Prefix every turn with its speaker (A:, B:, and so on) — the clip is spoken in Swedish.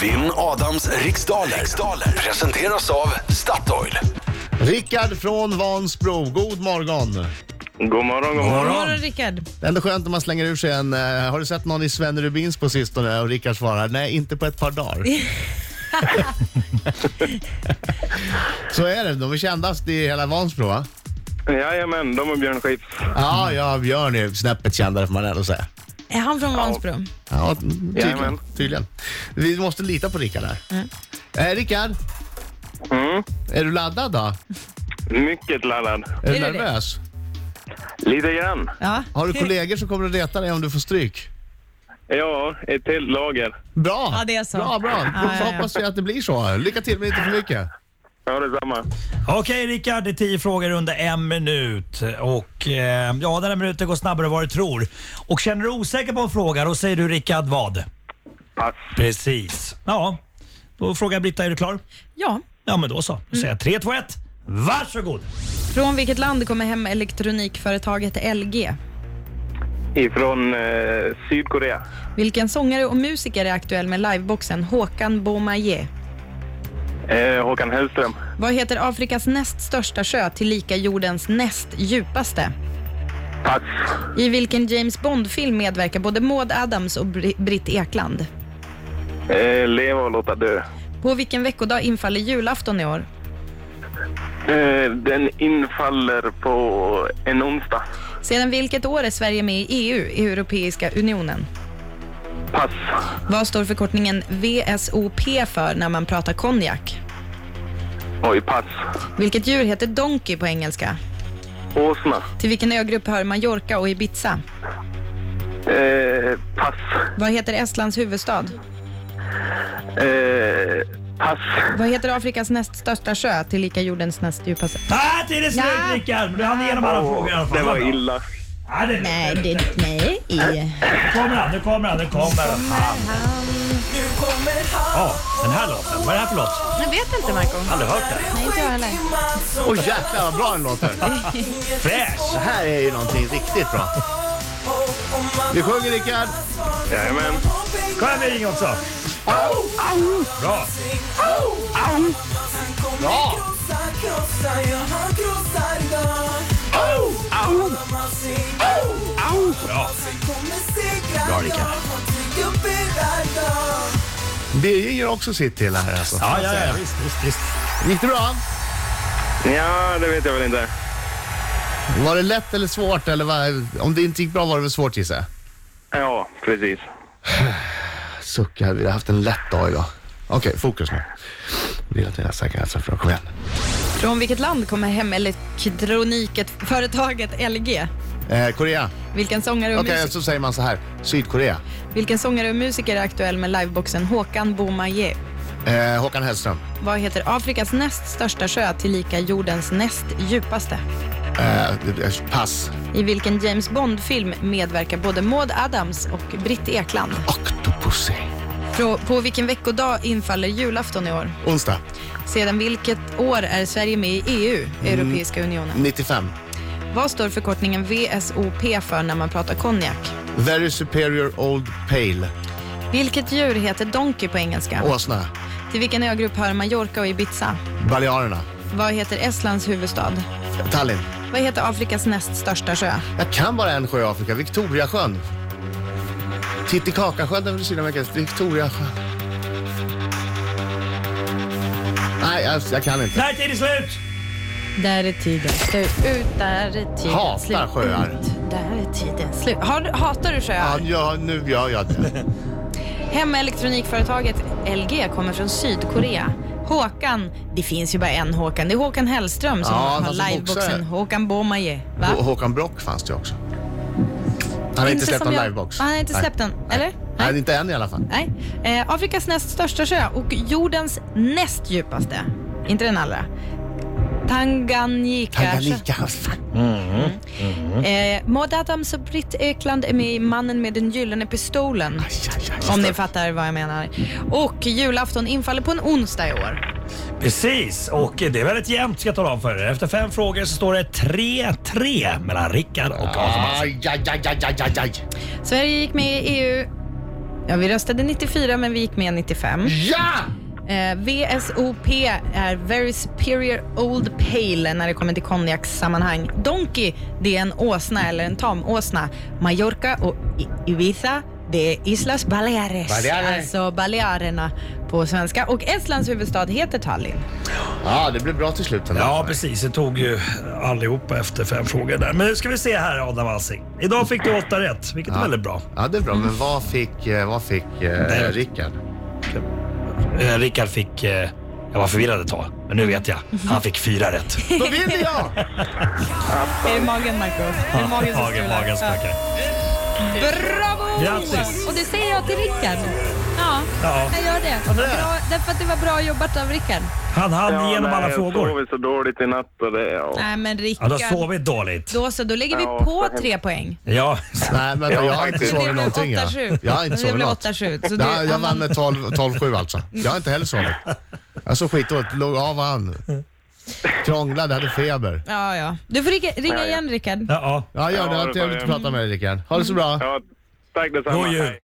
A: Vinn Adams riksdaler. riksdaler presenteras av Statoil.
B: Rickard från Vansbro, god morgon.
C: God morgon, god
D: God
C: morgon.
D: morgon Rickard.
B: Det är ändå skönt när man slänger ur sig en... eh, har du sett någon i Sven Rubins på sistone? Och Rickard svarar, nej inte på ett par dagar. Så är det, de är kändast i hela Vansbro va?
C: Jajamän, de och Björn Skifs.
B: Ja, ja Björn är snäppet kändare får man ändå säga.
D: Är han från Vansbro?
B: Ja, tydligen.
C: Jajamän.
B: tydligen. Vi måste lita på Rickard här. Eh, Rickard,
C: Mm.
B: är du laddad då?
C: Mycket laddad.
B: Är du
D: Är du det?
B: nervös?
C: Lite grann.
D: Ja.
B: Har du kollegor som kommer att reta dig om du får stryk?
C: Ja, ett helt lager.
B: Bra!
D: Ja, det är så.
B: Bra, bra. Då
D: Ja, ja, ja.
B: hoppas vi att det blir så. Lycka till, men inte för mycket.
C: Ja, detsamma.
E: Okej Rickard, det är tio frågor under en minut. Och eh, ja, den här minuten går snabbare än vad du tror. Och känner du osäker på en fråga, då säger du Rickard vad?
C: Pass.
E: Precis. Ja, då frågar Britta, är du klar?
D: ja.
E: Ja, men då så. Då
C: Mm.
E: säger jag 3, 2, 1. Varsågod!
D: Från vilket land kommer hem elektronikföretaget LG?
C: Ifrån eh, Sydkorea.
D: Vilken sångare och musiker är aktuell med liveboxen Håkan Bomaye?
C: Eh, Håkan Hellström.
D: Vad heter Afrikas näst största sjö tillika jordens näst djupaste?
C: Pass.
D: I vilken James Bond-film medverkar både Maud Adams och Bri- Britt Ekland?
C: Eh, leva och låta dö.
D: På vilken veckodag infaller julafton i år?
C: Eh, den infaller på en onsdag.
D: Sedan vilket år är Sverige med i EU, Europeiska unionen?
C: Pass.
D: Vad står förkortningen VSOP för när man pratar konjak?
C: Oj, pass.
D: Vilket djur heter donkey på engelska?
C: Åsna.
D: Till vilken ögrupp hör Mallorca och Ibiza?
C: Eh, pass.
D: Vad heter Estlands huvudstad?
C: Eh, pass.
D: Vad heter Afrikas näst största sjö, tillika jordens näst djupaste?
E: Ah, det är slut
D: Ja.
E: Rickard! Men du hann igenom alla frågor i alla fall.
C: Det var
E: Vad bra.
C: illa.
E: Ja, det,
D: Nej, det, nej. i-
E: Nu kommer han, nu kommer han, nu kommer han. Ja, den här låten. Vad är det här för låt?
D: Jag vet inte, Marco.
E: Aldrig hört den.
D: Nej, inte jag heller.
B: Åh jäklar vad bra den låter.
E: Fräsch!
B: Det här är ju någonting riktigt bra. Vi sjunger Rickard.
C: Jajamän.
E: Kom här Bering också. Bra.
B: Bra!
E: Bra.
F: Bra Rickard.
B: Birger gör också sitt till här alltså.
E: Ja, ja, ja. Visst, visst, visst.
B: Gick det bra?
C: Ja, det vet jag väl inte.
B: Var det lätt eller svårt? Eller vad? Om det inte gick bra var det väl svårt gissar jag?
C: Ja, precis.
B: Suck, jag hade velat haft en lätt dag idag. Okej, fokus nu. Vill att jag säkrar alltså för kom igen.
D: Från vilket land kommer hemelektronikföretaget LG?
B: Eh, Korea.
D: Vilken sångare och,
B: Okej,
D: musik-
B: så säger man så här. Sydkorea.
D: vilken sångare och musiker är aktuell med liveboxen Håkan Bomaye?
B: Eh, Håkan Hellström.
D: Vad heter Afrikas näst största sjö, tillika jordens näst djupaste?
B: Eh, pass.
D: I vilken James Bond-film medverkar både Maud Adams och Britt Ekland?
B: Octopussy.
D: Frå- På vilken veckodag infaller julafton i år?
B: Onsdag.
D: Sedan vilket år är Sverige med i EU, Europeiska
B: Mm.
D: unionen?
B: 95.
D: Vad står förkortningen VSOP för när man pratar konjak?
B: Very Superior Old Pale.
D: Vilket djur heter donkey på engelska?
B: Åsna.
D: Till vilken ögrupp hör Mallorca och Ibiza?
B: Balearerna.
D: Vad heter Estlands huvudstad?
B: Tallinn.
D: Vad heter Afrikas näst största sjö?
B: Jag kan bara en sjö i Afrika. Victoriasjön. Titicacasjön är väl Sydamerika. Victoriasjön. Nej, jag, jag kan inte.
E: Där är det slut!
D: Där är tiden slut. Ut, där är tiden
B: Hatar
D: slut.
B: sjöar.
D: Ut, där är tiden slut. Har, hatar du
B: Ja,
D: sjöar?
B: ja, nu gör jag det.
D: Hemelektronikföretaget LG kommer från Sydkorea. Håkan, det finns ju bara en Håkan. Det är Håkan Hellström som
B: Ja,
D: har
B: han som boxare.
D: liveboxen Håkan Bomaye. Va?
B: Hå- Håkan Brock fanns det också. Han har inte släppt
D: som
B: någon
D: jag-
B: livebox.
D: Ja, Han har inte
B: Nej.
D: släppt den, eller?
B: Nej, inte än i alla fall.
D: Nej. Eh, Afrikas näst största sjö och jordens näst djupaste. Inte den allra. Tanganyika.
B: Tanganyika. fan.
D: Eh, Maud Adams och Britt Ekland är med i Mannen med den gyllene pistolen. Om ni fattar vad jag menar. Och julafton infaller på en onsdag i år.
E: Precis, och det är väldigt jämnt ska jag tala om för er. Efter fem frågor så står det 3-3
B: Ah.
E: mellan Rickard och Adam.
B: Aj, aj, aj, aj, aj, aj.
D: Sverige gick med i EU E Ja, vi röstade 94 men vi gick med 95.
B: Ja!
D: Eh, VSOP är Very Superior Old Pale när det kommer till konjakssammanhang. Donkey, det är en åsna eller en tamåsna. Mallorca och I- Ibiza, det är Islas Baleares,
B: Balearer.
D: alltså Balearerna på svenska. Och Estlands huvudstad heter Tallinn.
B: Ja, det blev bra till slut ändå.
E: Ja, precis. Det tog ju allihopa efter fem frågor där. Men nu ska vi se här Adam Alsing. Idag fick du åtta rätt, vilket är väldigt bra.
B: Ja, det är bra. Men vad fick, eh, vad fick eh, Rickard?
E: Eh, Rickard fick... Eh, jag var förvirrad ett tag, men nu vet jag. Han fick fyra rätt.
B: Då vinner jag!
D: Är det magen, Marcus? Är det magen som
E: Hagen,
D: strular?
E: magen smackar.
D: Ja. Bravo!
E: Grattis!
G: Och det säger jag till Rickard. Ja,
E: Ja,
G: jag gör det.
E: det?
G: Bra, därför att det var bra jobbat av Rickard.
E: han hann igenom alla
C: Jag
E: frågor.
C: sov så dåligt i natt och det... Ja.
D: Nej men
E: Han har
D: Rickard,
E: sovit dåligt.
D: då så, då lägger vi
C: Ja,
D: på
C: så hemskt.
D: tre poäng.
E: Ja,
B: Nej, men
C: Ja,
B: jag har inte
C: faktiskt.
B: sovit någonting. Jag,
D: Det blev 8-7.
B: jag har inte
D: Det
B: sovit
D: blev
B: något.
D: 8-7, så det-
B: jag, jag vann med 12 12-7 alltså. Jag har inte heller sovit. Jag sov skitdåligt, låg av och an. Krånglade, hade feber.
D: Ja, ja. Du får ringa, ringa igen Rickard.
E: ja, ja.
B: Ja, gör det. Det
C: Ja, det
B: var trevligt
C: var
B: att
C: det.
B: prata med dig Rickard. Ha det så bra.
C: Ja, tack detsamma.
E: God jul.
C: Hej.